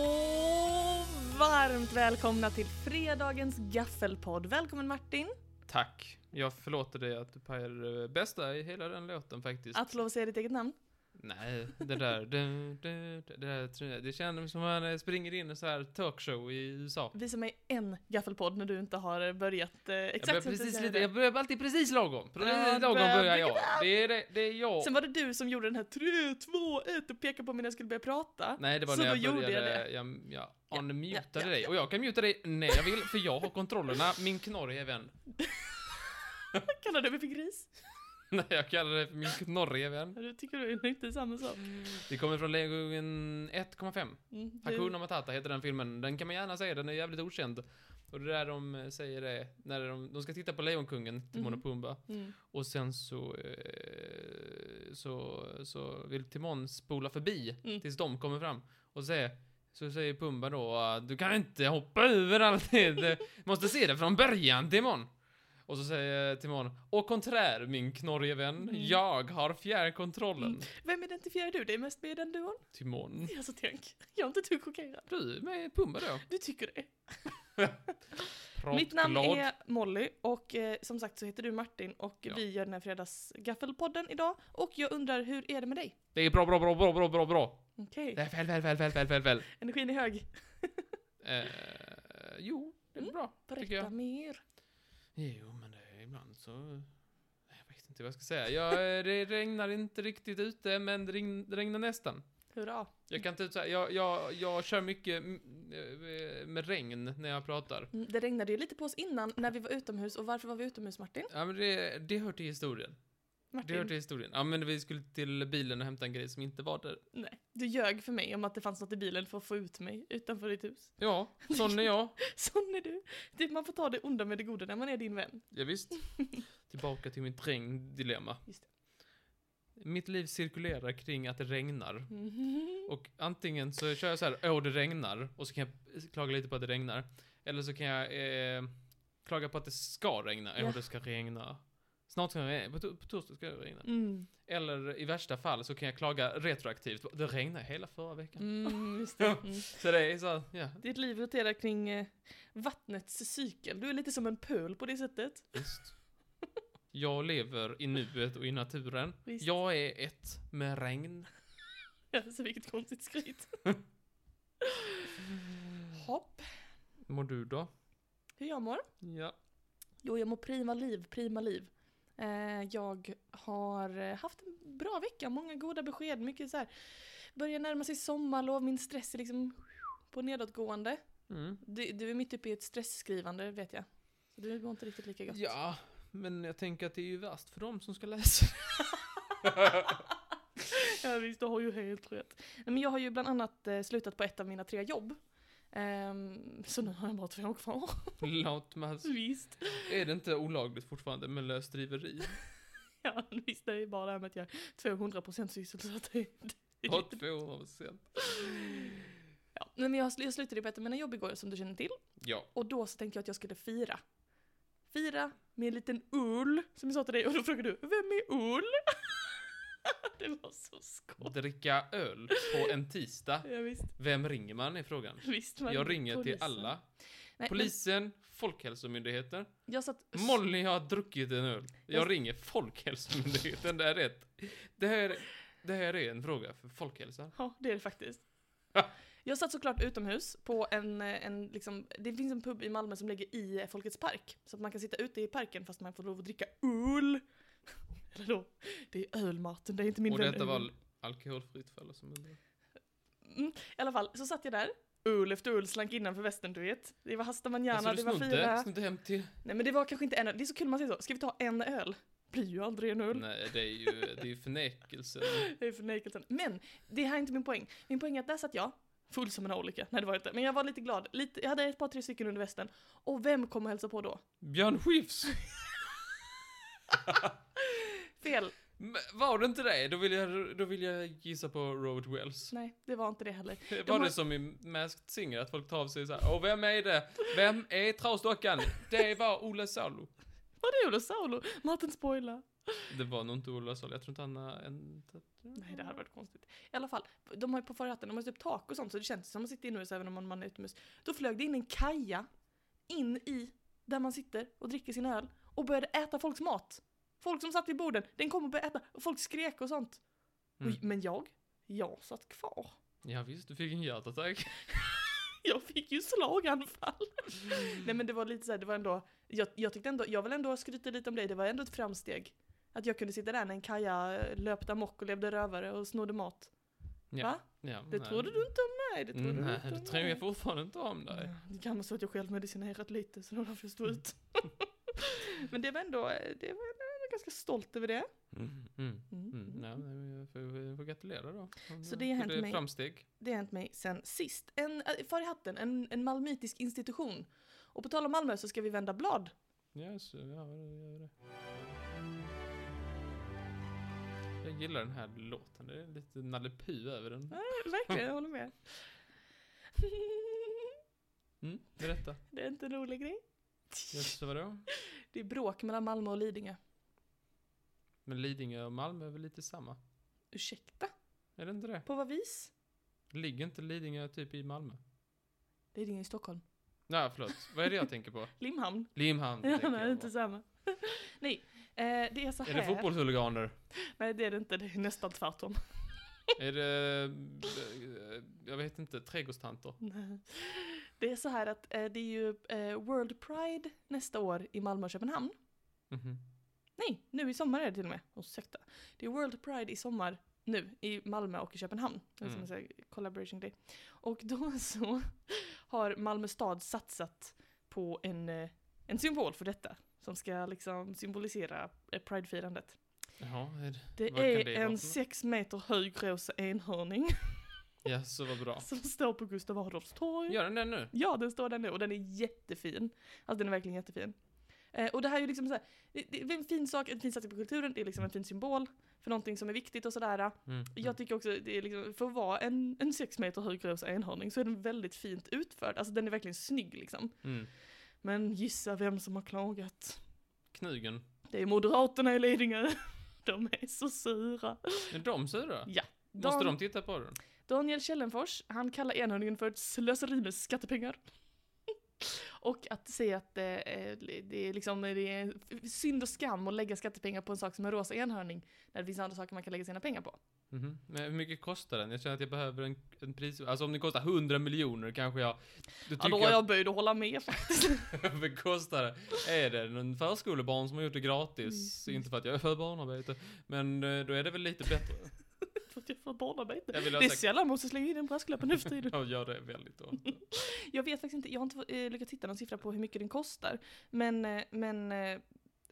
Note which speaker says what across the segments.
Speaker 1: Och varmt välkomna till fredagens gaffelpodd. Välkommen Martin.
Speaker 2: Tack. Jag förlåter dig att du pajar eh, bästa i hela den låten faktiskt.
Speaker 1: Att få lov att säga ditt eget namn.
Speaker 2: Nej, det där... Det, det, det, där det känns som att man springer in i en så här talkshow i USA.
Speaker 1: Visa mig en gaffelpodd när du inte har börjat eh,
Speaker 2: Jag börjar,
Speaker 1: exakt som
Speaker 2: precis
Speaker 1: du
Speaker 2: lite,
Speaker 1: säger
Speaker 2: jag börjar alltid precis lagom. Precis
Speaker 1: Ja, du
Speaker 2: lagom
Speaker 1: börjar-
Speaker 2: börjar jag. Det är, det, det är
Speaker 1: det.
Speaker 2: jag.
Speaker 1: Sen var det du som gjorde den här 3, 2, 1 och pekade på mig när jag skulle börja prata.
Speaker 2: Nej, det var
Speaker 1: så
Speaker 2: när
Speaker 1: då
Speaker 2: jag
Speaker 1: gjorde
Speaker 2: började...
Speaker 1: jag
Speaker 2: Jag, jag,
Speaker 1: Ja,
Speaker 2: unmutade
Speaker 1: ja, ja,
Speaker 2: dig.
Speaker 1: ja.
Speaker 2: Och jag kan muta dig när jag vill, för jag har kontrollerna. Min knorrige vän.
Speaker 1: Kallade du mig för gris?
Speaker 2: Nej, jag kallar dig för min knorrige vän.
Speaker 1: Ja, Du tycker du är inte samma sak.
Speaker 2: Det kommer från Legoen 1,5.
Speaker 1: Mm, du-
Speaker 2: Hakuna Matata heter den filmen. Den kan man gärna säga, den är jävligt okänd. Och det där de eh, säger det, när de, de ska titta på Lejonkungen, Timon
Speaker 1: Mhm.
Speaker 2: och Pumba.
Speaker 1: Mm.
Speaker 2: Och sen så, eh, så, så vill Timon spola förbi
Speaker 1: Mm.
Speaker 2: tills de kommer fram. Och säger, så säger Pumba då, eh, du kan inte hoppa över alltid. Du måste se det från början Timon. Och så säger Timon, och konträr min knorrige vän,
Speaker 1: Mm.
Speaker 2: jag har fjärrkontrollen.
Speaker 1: Mm. Vem identifierar du dig mest med i den duon?
Speaker 2: Timon.
Speaker 1: Alltså tänk, jag är inte du chockerad.
Speaker 2: Du med Pumba då?
Speaker 1: Du tycker det? Mitt namn
Speaker 2: Pratglad.
Speaker 1: är Molly och eh, som sagt så heter du Martin och
Speaker 2: Ja.
Speaker 1: vi gör den här fredagsgaffelpodden idag och jag undrar hur är det med dig?
Speaker 2: Det är bra, bra, bra, bra, bra, bra, bra.
Speaker 1: Okej,
Speaker 2: Det är väl, väl, väl, väl, väl, väl, väl.
Speaker 1: energin är hög.
Speaker 2: Eh, jo, det är
Speaker 1: Mm,
Speaker 2: bra, tycker
Speaker 1: Berätta
Speaker 2: jag.
Speaker 1: mer.
Speaker 2: Jo, men det är ibland så... Jag vet inte vad jag ska säga. Jag, eh, det regnar inte riktigt ute, men det regn- det regnar nästan.
Speaker 1: Hurra.
Speaker 2: Jag kan inte... så här- Jag, jag, jag kör mycket mm, eh, med regn när jag pratar.
Speaker 1: Mm, Det regnade ju lite på oss innan när vi var utomhus och varför var vi utomhus Martin?
Speaker 2: Ja, men det, det hör till historien. Det hör
Speaker 1: Martin,
Speaker 2: till historien. Ja, men vi skulle till bilen och hämta en grej som inte var där.
Speaker 1: nej, du ljög för mig om att det fanns något i bilen för att få ut mig utanför ditt hus.
Speaker 2: Ja, sån är jag.
Speaker 1: Sån är du. Typ man får ta det onda med det goda när man är din vän.
Speaker 2: Ja, visst. Tillbaka till mitt regndilemma.
Speaker 1: Just
Speaker 2: Mitt liv cirkulerar kring att det regnar.
Speaker 1: Mhm.
Speaker 2: Och antingen så kör jag så här, åh det regnar, och så kan jag klaga lite på att det regnar. Eller så kan jag eh, klaga på att det ska regna, åh
Speaker 1: Ja.
Speaker 2: det ska regna. Snart ska det regna, på, to- på torsdag ska det regna.
Speaker 1: Mm.
Speaker 2: Eller i värsta fall så kan jag klaga retroaktivt, det regnade hela förra veckan.
Speaker 1: Mm, just det. Mm.
Speaker 2: Så det är så, här, ja,
Speaker 1: Ditt liv roterar kring eh, vattnets cykel. Du är lite som en pöl på det sättet.
Speaker 2: visst. Jag lever i nuet och i naturen.
Speaker 1: Visst.
Speaker 2: Jag är ett med regn.
Speaker 1: Alltså vilket konstigt skryt. Hopp.
Speaker 2: Mår du då?
Speaker 1: Hur jag mår?
Speaker 2: Ja.
Speaker 1: Jo, jag mår prima liv, prima liv. Eh, jag har eh, haft en bra vecka, många goda besked, mycket så här. Börjar närma sig sommarlov, min stress är liksom på nedåtgående.
Speaker 2: Mm.
Speaker 1: Du, du är mitt uppe i ett stressskrivande, vet jag. Så du mår inte riktigt lika gott.
Speaker 2: Ja, men jag tänker att det är ju värst för dem som ska läsa.
Speaker 1: Ja visst, du har ju helt rätt. Nej, Men jag har ju bland annat eh, slutat på ett av mina tre jobb. Ehm, så nu har jag bara två kvar.
Speaker 2: Låt mig alltså.
Speaker 1: Visst.
Speaker 2: Är det inte olagligt fortfarande med lösdriveri?
Speaker 1: Ja, visst det är bara det här med att jag är 200% sysselsatt. Det- det-
Speaker 2: På 200%.
Speaker 1: Ja, nej, men jag, har sl- jag slutade ju på ett av mina jobb igår som du känner till.
Speaker 2: Ja.
Speaker 1: Och då så tänkte jag att jag skulle fira. Fira med en liten ull, som jag sa till dig. Och då frågade du, vem är ull? det var så skoj.
Speaker 2: Dricka öl på en tisdag.
Speaker 1: Ja, visst.
Speaker 2: Vem ringer man i frågan?
Speaker 1: Visst, man-
Speaker 2: Jag ringer till
Speaker 1: polisen.
Speaker 2: alla.
Speaker 1: Nej, Polis.
Speaker 2: Polisen, Folkhälsomyndigheten.
Speaker 1: Men jag satt...
Speaker 2: Molly har druckit en öl.
Speaker 1: Jag-
Speaker 2: Jag ringer Folkhälsomyndigheten. Det här är ett... Det här, det här är en fråga för folkhälsan.
Speaker 1: Ja, det är det faktiskt.
Speaker 2: Ja.
Speaker 1: Jag satt såklart utomhus på en, eh, en liksom, det finns en pub i Malmö som ligger i eh, Folkets park. Så att man kan sitta ute i parken fast man får lov att dricka öl. Eller då, det är ölmaten, det är inte min
Speaker 2: Och
Speaker 1: vän
Speaker 2: detta
Speaker 1: öl.
Speaker 2: var alkoholfritt för alla som undrar.
Speaker 1: Mm, I alla fall, så satt jag där. Öl efter öl slank innanför västen, du vet. Det var hasta manjana,
Speaker 2: Alltså du
Speaker 1: det var
Speaker 2: snodde,
Speaker 1: fyra.
Speaker 2: snodde hem till...
Speaker 1: Nej men det var kanske inte en öl, det är så kul man säger så. Ska vi ta en öl? Blir ju aldrig en öl.
Speaker 2: Nej, det är ju, det är ju förnekelse.
Speaker 1: Det är förnekelsen. Men det här är inte min poäng. Min poäng är att där satt jag, full som en olika. Nej det var jag inte. Men jag var lite glad. Lite, jag hade ett par tre stycken under västen. Och vem kom och hälsade på då?
Speaker 2: Björn Skifs!
Speaker 1: Fel.
Speaker 2: Men var det inte det? Då vill jag, då vill jag gissa på Robert Wells.
Speaker 1: Nej, det var inte det heller.
Speaker 2: var
Speaker 1: har-
Speaker 2: det som i Masked Singer, att folk tar av sig såhär, och vem är det? Vem är trasdockan? Det var Ola Salo.
Speaker 1: Var det Olof Saulo? Martin spoila.
Speaker 2: Det var nog inte Ola Sol. Jag tror inte han har en...
Speaker 1: Nej, det hade varit konstigt. I alla fall, de har ju på förrätten, de har typ tak och sånt så det känns som att sitta inomhus även om man- man är utomhus. Då flög det in en kaja in i där man sitter och dricker sin öl och började äta folks mat. Folk som satt vid borden, den kom och började äta och folk skrek och sånt.
Speaker 2: Mm.
Speaker 1: Och, men jag, jag satt kvar.
Speaker 2: Ja, visst, du fick en hjärtattack.
Speaker 1: Jag fick ju slaganfall. Nej men det var lite så här, det var ändå, jag, jag tyckte ändå, jag vill ändå skryta lite om dig, det var ändå ett framsteg. Att jag kunde sitta där när en kaja löpte amok och levde rövare och snodde mat.
Speaker 2: Ja,
Speaker 1: Va?
Speaker 2: Ja,
Speaker 1: Det
Speaker 2: nej.
Speaker 1: trodde du inte om mig, det trodde du
Speaker 2: Mm, Nej,
Speaker 1: inte
Speaker 2: det
Speaker 1: om
Speaker 2: tror
Speaker 1: mig.
Speaker 2: jag fortfarande inte om dig.
Speaker 1: Ja, Det kan vara så att jag själv medicinerat lite så det var därför jag stod ut. Men det var ändå, det var, jag var ganska stolt över det.
Speaker 2: Mm. Mm.
Speaker 1: Mm.
Speaker 2: Mm. Ja, men jag får, jag får gratulera då. Om
Speaker 1: Så
Speaker 2: du
Speaker 1: det har hänt
Speaker 2: gjorde
Speaker 1: mig.
Speaker 2: framsteg.
Speaker 1: Det har hänt mig sen sist. En, äh, för i hatten, en, en malmitisk institution. Och på tal om Malmö så ska vi vända blad.
Speaker 2: Yes, ja, gör det, gör det. Jag gillar den här låten. Det är lite Nalle Puh över den.
Speaker 1: Verkligen, jag håller med.
Speaker 2: Mm, berätta.
Speaker 1: Det är inte en rolig grej.
Speaker 2: Yes, vadå?
Speaker 1: Det är bråk mellan Malmö och Lidingö.
Speaker 2: Men Lidingö och Malmö är väl lite samma?
Speaker 1: Ursäkta?
Speaker 2: Är det inte det?
Speaker 1: På vad vis?
Speaker 2: Ligger inte Lidingö typ i Malmö?
Speaker 1: Lidingö i Stockholm.
Speaker 2: Nej, förlåt. Vad är det jag tänker på?
Speaker 1: Limhamn.
Speaker 2: Limhamn
Speaker 1: Ja,
Speaker 2: tänker
Speaker 1: nej,
Speaker 2: jag på.
Speaker 1: inte samma. Nej, eh, det är så
Speaker 2: Är
Speaker 1: här.
Speaker 2: det fotbollshuliganer?
Speaker 1: Nej, det är det inte. Det är nästan tvärtom.
Speaker 2: är det... eh, Jag vet inte, trädgårdstanter?
Speaker 1: Nej. Det är så här att eh, det är ju eh, World Pride nästa år i Malmö och Köpenhamn.
Speaker 2: Mhm.
Speaker 1: Nej, nu i sommar är det till och med. Ursäkta. Det är World Pride i sommar nu i Malmö och i Köpenhamn. Det är som
Speaker 2: Mm.
Speaker 1: en sån här collaboration day. Och då så har Malmö stad satsat på en, eh, en symbol för detta. Som ska liksom symbolisera eh, Pridefirandet.
Speaker 2: Jaha, är det...
Speaker 1: Det
Speaker 2: Vad kan
Speaker 1: är
Speaker 2: det vara för
Speaker 1: en
Speaker 2: något?
Speaker 1: sex meter hög rosa enhörning
Speaker 2: Ja, så vad bra.
Speaker 1: som står på Gustav Adolfs torg.
Speaker 2: Gör den det nu?
Speaker 1: Ja, den står där nu och den är jättefin. Alltså den är verkligen jättefin. Eh, och det här är ju liksom så här, det, det är en fin sak, en fin satsning på kulturen, det är liksom en fin symbol för någonting som är viktigt och sådär.
Speaker 2: Mm.
Speaker 1: Jag tycker också, det är liksom, för att vara en, en sex meter hög rosa enhörning så är den väldigt fint utförd. Alltså den är verkligen snygg liksom.
Speaker 2: Mm.
Speaker 1: Men gissa vem som har klagat?
Speaker 2: Knugen.
Speaker 1: Det är Moderaterna i Lidingö. De är så sura.
Speaker 2: Är de sura?
Speaker 1: Ja.
Speaker 2: Måste
Speaker 1: Dan-
Speaker 2: de titta på den?
Speaker 1: Daniel Källenfors, han kallar enhörningen för ett slöseri med skattepengar. Och att säga att eh, eh, det är, liksom, det är synd och skam att lägga skattepengar på en sak som en rosa enhörning, när det finns andra saker man kan lägga sina pengar på.
Speaker 2: Mhm. Men hur mycket kostar den? Jag känner att jag behöver en, en pris... Alltså om den kostar 100 miljoner kanske jag... Då
Speaker 1: Ja,
Speaker 2: tycker
Speaker 1: då är
Speaker 2: jag
Speaker 1: jag böjd att hålla med faktiskt.
Speaker 2: att jag kostar det. Är det en förskolebarn som har gjort det gratis?
Speaker 1: Mm.
Speaker 2: Inte för att jag är för barnarbete. Men eh, då är det väl lite bättre.
Speaker 1: För att jag får barnarbete.
Speaker 2: Jag vill
Speaker 1: Det
Speaker 2: ha
Speaker 1: är
Speaker 2: sagt...
Speaker 1: sällan man måste slänga in en brasklapp nu för tiden.
Speaker 2: Jag gör det väldigt ofta.
Speaker 1: Jag vet faktiskt inte, jag har inte fått, eh, lyckats hitta någon siffra på hur mycket den kostar. Men, eh, men eh,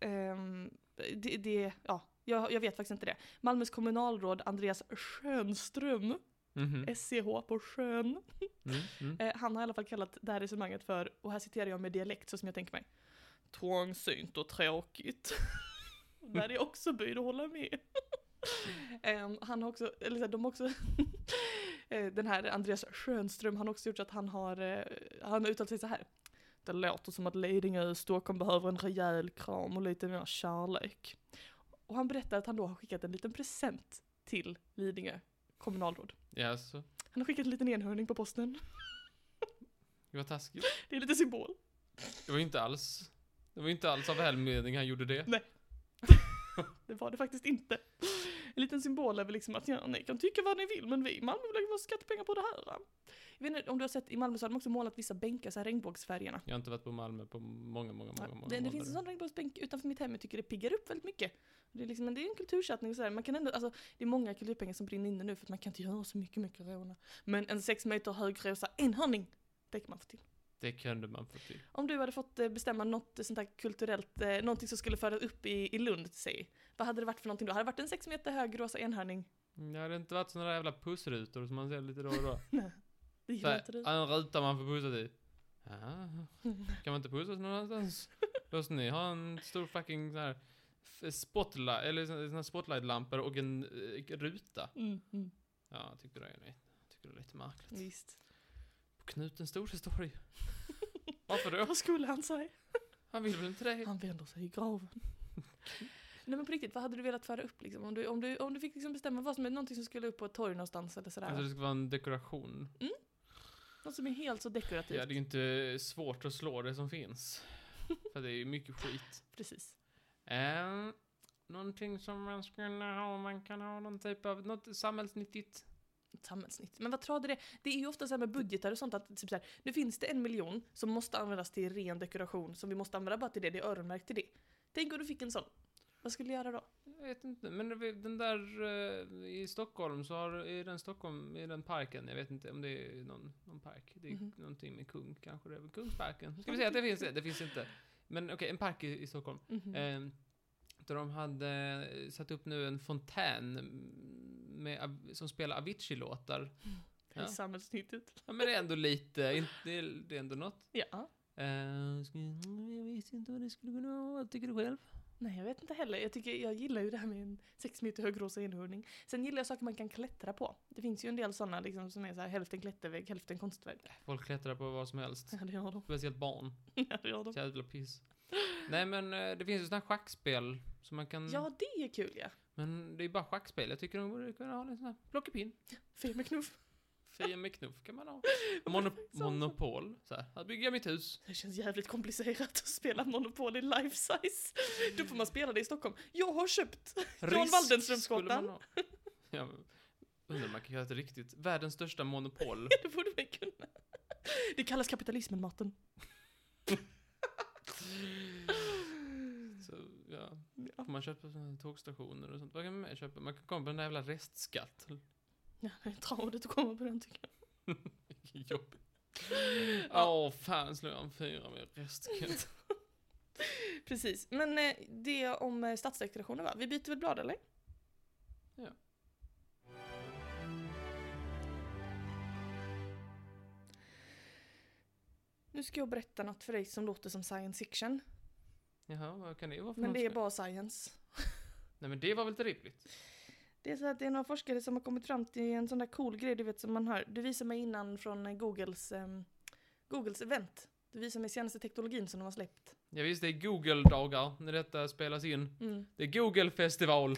Speaker 1: ehm, det, det, ja, jag, jag vet faktiskt inte det. Malmös kommunalråd Andreas Schönström
Speaker 2: Mhm.
Speaker 1: SCH på sjön.
Speaker 2: Mm, mm.
Speaker 1: Eh, han har i alla fall kallat det här resonemanget för, och här citerar jag med dialekt så som jag tänker mig, trångsynt och tråkigt. Där är också böjd att hålla med. Em, han har också, eller så här, de har också, eh, den här Andreas Schönström, han har också gjort så att han har, eh, han har uttalat sig så här. Det låter som att Lidingö och Stockholm behöver en rejäl kram och lite mer kärlek. Och han berättar att han då har skickat en liten present till Lidingö kommunalråd.
Speaker 2: Ja, så.
Speaker 1: Han har skickat en liten enhörning på posten.
Speaker 2: Det var taskigt.
Speaker 1: Det är lite symbol.
Speaker 2: Det var ju inte alls... Det var ju inte alls av välmening han gjorde det.
Speaker 1: Det var det faktiskt inte. En liten symbol är väl liksom att ja, ni kan tycka vad ni vill men vi i Malmö vill lägga våra skattepengar på det här. Jag vet inte om du har sett, i Malmö så har de också målat vissa bänkar, så här regnbågsfärgerna.
Speaker 2: Jag har inte varit på Malmö på många, många, många, många
Speaker 1: det, det finns en
Speaker 2: månader.
Speaker 1: sån regnbågsbänk utanför mitt hem, jag tycker det piggar upp väldigt mycket. Det är, liksom, men det är en kultursatsning och sådär, man kan ändå, alltså det är många kulturpengar som brinner inne nu för att man kan inte göra så mycket med corona. Men en sex meter hög rosa enhörning, det kan man få till.
Speaker 2: Det kunde man få till.
Speaker 1: Om du hade fått eh, bestämma något eh, sånt här kulturellt, eh, någonting som skulle föras upp i, i Lund, säg. Vad hade det varit för någonting då? Hade det varit en sex meter hög rosa enhörning?
Speaker 2: Det hade inte varit såna där jävla pussrutor som man ser lite då och då.
Speaker 1: Det
Speaker 2: Så
Speaker 1: gillar
Speaker 2: här,
Speaker 1: inte du.
Speaker 2: en ruta man får pussas i. Ja, kan man inte pussas någon annanstans? Låt ni ha en stor fucking sån här f- spotlight, eller sån sån här spotlightlampor och en eh, ruta.
Speaker 1: Mm, mm.
Speaker 2: Ja, jag tyckte det är lite, jag tyckte det är lite märkligt.
Speaker 1: Visst.
Speaker 2: På Knuten Store står det ju. Varför då?
Speaker 1: Vad skulle han säga?
Speaker 2: Han vill väl inte det?
Speaker 1: Han vänder sig i graven. Nej men på riktigt, vad hade du velat föra upp liksom? Om du, om du, om du fick liksom bestämma vad som är någonting som skulle upp på ett torg någonstans eller sådär.
Speaker 2: Alltså det ska vara en dekoration.
Speaker 1: Något som är helt så dekorativt.
Speaker 2: Ja, det är typ- ju inte svårt att slå det som finns. För det är ju mycket skit.
Speaker 1: Precis.
Speaker 2: Eh, någonting som man skulle ha, man kan ha någon typ av, något samhällsnyttigt.
Speaker 1: Samhällsnytt. Men vad tror du det Det är ju ofta så här med budgetar och sånt att typ så här, nu finns det en miljon som måste användas till ren dekoration som vi måste använda bara till det, det är öronmärkt till det. Tänk om du fick en sån. Vad skulle du göra då?
Speaker 2: Jag vet inte, men det- den där eh, i Stockholm så har, i den Stockholm, i den parken, jag vet inte om det är någon, någon park. Det är
Speaker 1: Mhm.
Speaker 2: någonting med kung, kanske det är väl Kungsparken. Ska vi säga att det finns det? Det finns inte. Men okej, en park i, i Stockholm.
Speaker 1: Mhm.
Speaker 2: Eh, där de hade eh, satt upp nu en fontän med, Av- som spelar Avicii-låtar.
Speaker 1: Mm. Det är
Speaker 2: ja.
Speaker 1: samhällsnyttigt.
Speaker 2: Ja, men det är ändå lite, inte, det är- det är ändå något.
Speaker 1: Ja.
Speaker 2: Eh, ska- jag visste inte vad det skulle kunna vara, vad tycker du själv?
Speaker 1: Nej jag vet inte heller. Jag, tycker, jag gillar ju det här med en sex meter hög rosa enhörning. Sen gillar jag saker man kan klättra på. Det finns ju en del sådana liksom, som är så här, hälften klättervägg, hälften konstvägg.
Speaker 2: Folk klättrar på vad som helst.
Speaker 1: Ja det har de.
Speaker 2: Speciellt barn.
Speaker 1: Ja, det har de.
Speaker 2: Jävla piss. Nej men eh, det finns ju sådana här schackspel som man kan...
Speaker 1: ja det är kul ja.
Speaker 2: Men det är bara schackspel. Jag tycker de borde kunna ha en sån här plockepinn.
Speaker 1: Fel med knuff.
Speaker 2: Fia med knuff kan man ha. Monop- monopol. Så här. här bygger jag mitt hus.
Speaker 1: Det känns jävligt komplicerat att spela Monopol i life size. Då får man spela det i Stockholm. Jag har köpt! Jan
Speaker 2: Risk
Speaker 1: Waldenströmsgatan.
Speaker 2: skulle man ha. Ja, men undrar om man kan göra ett riktigt, världens största monopol.
Speaker 1: Det borde man kunna. Det kallas kapitalismen, matten.
Speaker 2: Så, ja.
Speaker 1: Ja,
Speaker 2: Får man köpa på såna här tågstationer och sånt? Vad kan man mer köpa? Man kan komma på den där jävla restskatt.
Speaker 1: Ja, det är tradigt att komma på den tycker jag.
Speaker 2: Vilket jobb. Åh fan, slår jag en fyra med restskatt.
Speaker 1: Precis, men eh, det om eh, stadsdekorationer va? Vi byter väl blad eller?
Speaker 2: Ja.
Speaker 1: Nu ska jag berätta något för dig som låter som science fiction.
Speaker 2: Jaha, vad kan det vara för
Speaker 1: Men
Speaker 2: något
Speaker 1: det är
Speaker 2: skoj?
Speaker 1: bara science.
Speaker 2: Nej men det var väl inte rimligt?
Speaker 1: Det är så att det är några forskare som har kommit fram till en sån där cool grej du vet som man hör. Du visade mig innan från eh, Googles, ehm, Googles event. Du visade mig senaste teknologin som de har släppt.
Speaker 2: Ja, visst, det är Google-dagar när detta spelas in.
Speaker 1: Mm.
Speaker 2: Det är Google-festival.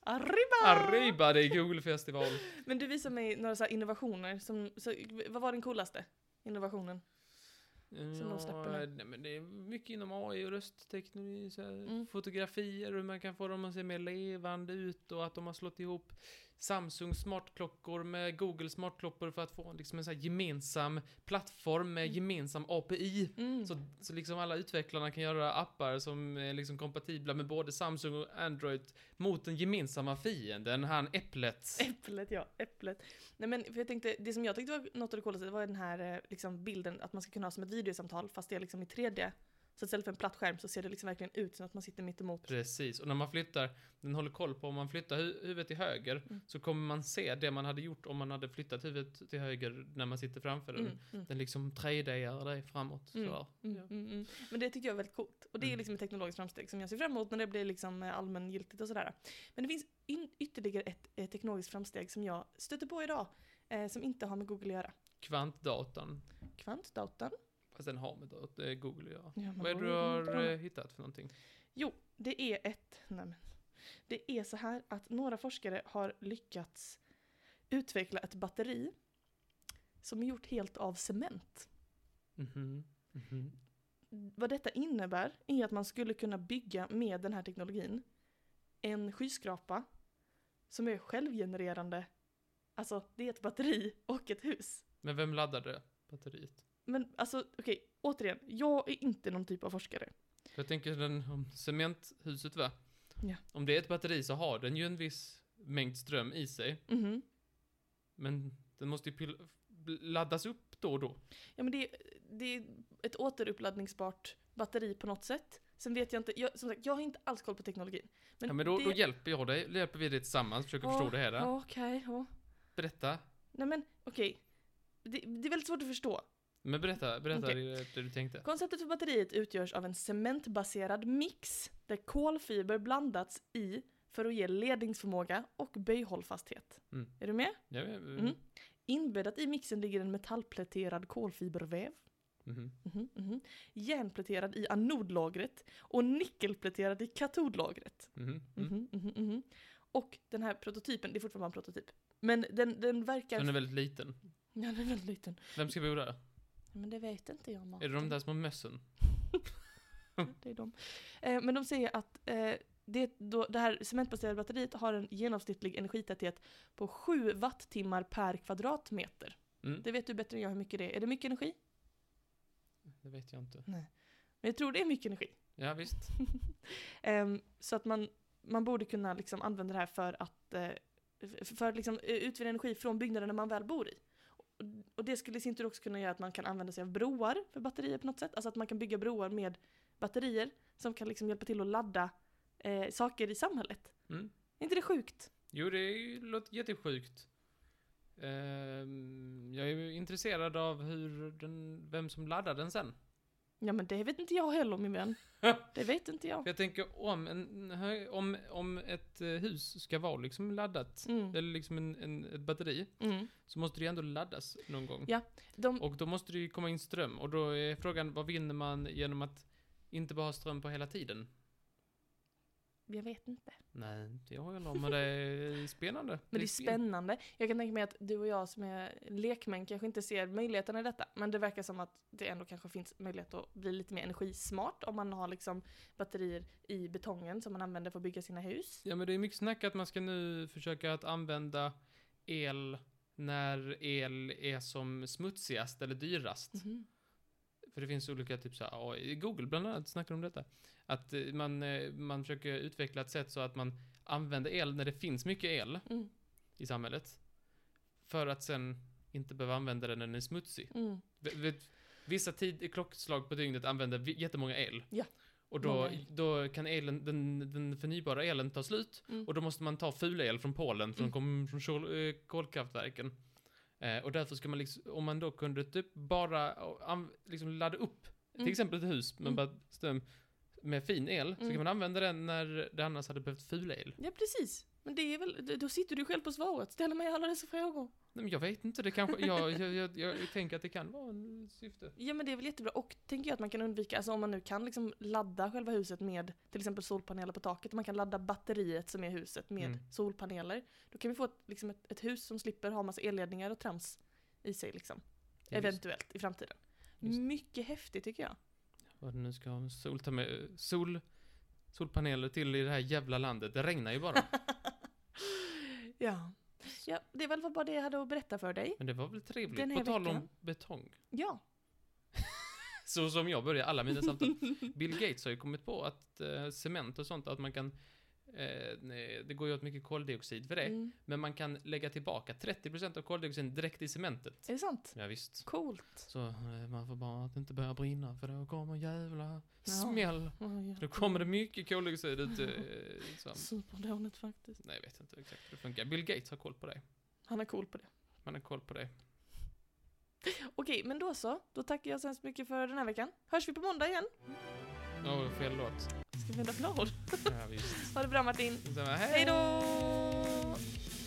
Speaker 1: Arriba!
Speaker 2: Arriba, det är Google-festival.
Speaker 1: Men du visade mig några så här innovationer. Som, så, vad var den coolaste innovationen? Som de släpper nu.
Speaker 2: nej, men det är mycket inom AI och röstteknologi, så här,
Speaker 1: Mm.
Speaker 2: fotografier, hur man kan få dem att se mer levande ut och att de har slått ihop Samsung smartklockor med Google smartklockor för att få liksom en så här gemensam plattform med
Speaker 1: Mm.
Speaker 2: gemensam API.
Speaker 1: Mm.
Speaker 2: Så, så liksom alla utvecklarna kan göra appar som är liksom kompatibla med både Samsung och Android mot den gemensamma fienden, han Äpplet.
Speaker 1: Äpplet ja, äpplet. Nej men för jag tänkte, det som jag tyckte var något av det coolaste det var den här eh, liksom, bilden att man ska kunna ha som ett videosamtal fast det är liksom i 3D. Så istället för en platt skärm så ser det liksom verkligen ut som att man sitter mitt emot.
Speaker 2: Precis, och när man flyttar, den håller koll på om man flyttar hu- huvudet till höger
Speaker 1: Mm.
Speaker 2: så kommer man se det man hade gjort om man hade flyttat huvudet till höger när man sitter framför den.
Speaker 1: Mm, mm.
Speaker 2: Den liksom 3D-ar dig framåt.
Speaker 1: Mm.
Speaker 2: sådär.
Speaker 1: Mm,
Speaker 2: Ja.
Speaker 1: mm, mm. Men det tycker jag är väldigt coolt. Och det är
Speaker 2: Mm.
Speaker 1: liksom ett teknologiskt framsteg som jag ser fram emot när det blir liksom eh, allmängiltigt och sådär. Men det finns in, ytterligare ett, eh, teknologiskt framsteg som jag stöter på idag eh, som inte har med Google att göra.
Speaker 2: Kvantdatan.
Speaker 1: Kvantdatorn.
Speaker 2: Fast den har med dat- eh, Google att göra.
Speaker 1: Ja, man
Speaker 2: Vad är det
Speaker 1: går
Speaker 2: du
Speaker 1: ju
Speaker 2: har
Speaker 1: inte med
Speaker 2: eh,
Speaker 1: den.
Speaker 2: hittat för någonting?
Speaker 1: Jo, det är ett... Nej men, det är så här att några forskare har lyckats utveckla ett batteri som är gjort helt av cement.
Speaker 2: Mhm. Mhm.
Speaker 1: Vad detta innebär är att man skulle kunna bygga med den här teknologin en skyskrapa som är självgenererande. Alltså, det är ett batteri och ett hus.
Speaker 2: Men vem laddade batteriet?
Speaker 1: Men alltså, okej, återigen, jag är inte någon typ av forskare.
Speaker 2: För jag tänker den, om cementhuset va?
Speaker 1: Ja.
Speaker 2: Om det är ett batteri så har den ju en viss mängd ström i sig.
Speaker 1: Mhm.
Speaker 2: Men den måste ju pil- laddas upp då och då.
Speaker 1: Ja, men det, är- det är ett återuppladdningsbart batteri på något sätt. Sen vet jag inte, jag, som sagt, jag har inte alls koll på teknologin.
Speaker 2: ja, men då,
Speaker 1: det-
Speaker 2: då hjälper jag dig, då hjälper vi dig tillsammans, försöker förstå
Speaker 1: Ja,
Speaker 2: det här.
Speaker 1: Ja, okej. ja.
Speaker 2: Berätta.
Speaker 1: Nej men okej. Det, det är väldigt svårt att förstå.
Speaker 2: Men berätta, berätta
Speaker 1: Okej.
Speaker 2: det, det du tänkte.
Speaker 1: Konceptet för batteriet utgörs av en cementbaserad mix där kolfiber blandats i för att ge ledningsförmåga och böjhållfasthet.
Speaker 2: Mm.
Speaker 1: Är du med?
Speaker 2: Ja, men-
Speaker 1: Mm. Inbäddat i mixen ligger en metallpläterad kolfiberväv.
Speaker 2: Mhm.
Speaker 1: Mhm, mhm. Järnpläterad i anodlagret och nickelpläterad i katodlagret.
Speaker 2: Mhm. Mm.
Speaker 1: Mhm, mhm, mhm. Och den här prototypen, det är fortfarande bara en prototyp. Men den, den verkar...
Speaker 2: Den är väldigt liten.
Speaker 1: Ja, den är väldigt liten.
Speaker 2: Vem ska bo där?
Speaker 1: Men det vet inte jag Martin.
Speaker 2: Är det de där små mössen?
Speaker 1: Det är de. Eh, men de säger att eh, det, då, det här cementbaserade batteriet har en genomsnittlig energitäthet på 7 wattimmar per kvadratmeter.
Speaker 2: Mm.
Speaker 1: Det vet du bättre än jag hur mycket det är. Är det mycket energi?
Speaker 2: Det vet jag inte.
Speaker 1: Men jag tror det är mycket energi.
Speaker 2: Ja, visst.
Speaker 1: Ehm, så att man, man borde kunna liksom använda det här för att, eh, f- för att liksom eh, utvinna energi från byggnaderna man väl bor i. Och, och det skulle i sin tur också kunna göra att man kan använda sig av broar för batterier på något sätt. Alltså att man kan bygga broar med batterier som kan liksom hjälpa till att ladda eh, saker i samhället.
Speaker 2: Mm.
Speaker 1: Är inte det sjukt?
Speaker 2: Jo, det är ju- låter jättesjukt. Ehm, jag är ju intresserad av hur den, vem som laddar den sen.
Speaker 1: Ja men det vet inte jag heller min vän. Det vet inte jag.
Speaker 2: För jag tänker om, en, hö- om, om ett eh, hus ska vara liksom laddat,
Speaker 1: Mm.
Speaker 2: eller liksom en, en, ett batteri,
Speaker 1: Mm.
Speaker 2: så måste det ju ändå laddas någon gång.
Speaker 1: Ja, de,
Speaker 2: Och då måste det ju komma in ström. Och då är frågan, vad vinner man genom att inte bara ha ström på hela tiden?
Speaker 1: jag vet inte.
Speaker 2: Nej, det har jag nog, men det är spännande.
Speaker 1: Men det är
Speaker 2: spin-
Speaker 1: spännande. Jag kan tänka mig att du och jag som är lekmän kanske inte ser möjligheterna i detta. Men det verkar som att det ändå kanske finns möjlighet att bli lite mer energismart om man har liksom batterier i betongen som man använder för att bygga sina hus.
Speaker 2: Ja, men det är mycket snack att man ska nu försöka att använda el när el är som smutsigast eller dyrast.
Speaker 1: Mhm.
Speaker 2: För det finns olika typ så här, AI Google bland annat snackar om detta. Att eh, man, eh, man försöker utveckla ett sätt så att man använder el när det finns mycket el
Speaker 1: Mm.
Speaker 2: i samhället. För att sen inte behöva använda den när den är smutsig.
Speaker 1: Mm.
Speaker 2: V- vet- Vissa tid, klockslag på dygnet använder vi- jättemånga el.
Speaker 1: Ja.
Speaker 2: Och då,
Speaker 1: Många el.
Speaker 2: då kan elen, den, den förnybara elen ta slut
Speaker 1: Mm.
Speaker 2: och då måste man ta fulel från Polen för
Speaker 1: Mm.
Speaker 2: de kommer från kol, eh, kolkraftverken. Eh, och därför ska man liksom, om man då kunde typ bara eh, an, liksom ladda upp
Speaker 1: Mm.
Speaker 2: till exempel ett hus med
Speaker 1: Mm.
Speaker 2: bara ström med fin el så
Speaker 1: Mm.
Speaker 2: kan man använda den när det annars hade behövt fulel.
Speaker 1: Ja precis. Men det är väl, d- då sitter du själv på svaret. Ställer mig alla dessa frågor.
Speaker 2: Nej, men jag vet inte, det kanske, jag, jag, jag, jag tänker att det kan vara en syfte.
Speaker 1: Ja men det är väl jättebra. Och tänker jag att man kan undvika, alltså om man nu kan liksom ladda själva huset med till exempel solpaneler på taket. Man kan ladda batteriet som är huset med
Speaker 2: Mm.
Speaker 1: solpaneler. Då kan vi få ett, liksom ett, ett hus som slipper ha massa elledningar och trams i sig liksom. Eventuellt i framtiden.
Speaker 2: Just.
Speaker 1: Mycket häftigt tycker jag.
Speaker 2: Vad det nu ska ha soltame- sol, solpaneler till i det här jävla landet. Det regnar ju bara.
Speaker 1: Ja. ja, det är väl bara det jag hade att berätta för dig.
Speaker 2: Men det var väl trevligt.
Speaker 1: Den här
Speaker 2: På tal
Speaker 1: veckan.
Speaker 2: om betong.
Speaker 1: Ja.
Speaker 2: Så som jag börjar alla mina samtal. Bill Gates har ju kommit på att eh, cement och sånt, att man kan Eh, nej, det går ju åt mycket koldioxid för det,
Speaker 1: Mm.
Speaker 2: men man kan lägga tillbaka 30% av koldioxiden direkt i cementet.
Speaker 1: Är det sant?
Speaker 2: Ja, visst.
Speaker 1: Coolt.
Speaker 2: Så eh, man får bara att det inte börjar brinna, för då kommer jävla
Speaker 1: Ja.
Speaker 2: smäll.
Speaker 1: Oh, ja.
Speaker 2: Då kommer det mycket koldioxid ut. Eh, som,
Speaker 1: Superdåligt faktiskt.
Speaker 2: nej, jag vet inte exakt hur det funkar. Bill Gates har koll på det.
Speaker 1: Han är cool på det.
Speaker 2: Man har koll på det.
Speaker 1: Okej, men då så. Då tackar jag så hemskt mycket för den här veckan. Hörs vi på måndag igen?
Speaker 2: Ja, oh, fel låt.
Speaker 1: Ska vi vända applåd?
Speaker 2: Ja, visst.
Speaker 1: Ha det bra Martin.
Speaker 2: Så, hej
Speaker 1: Hej då!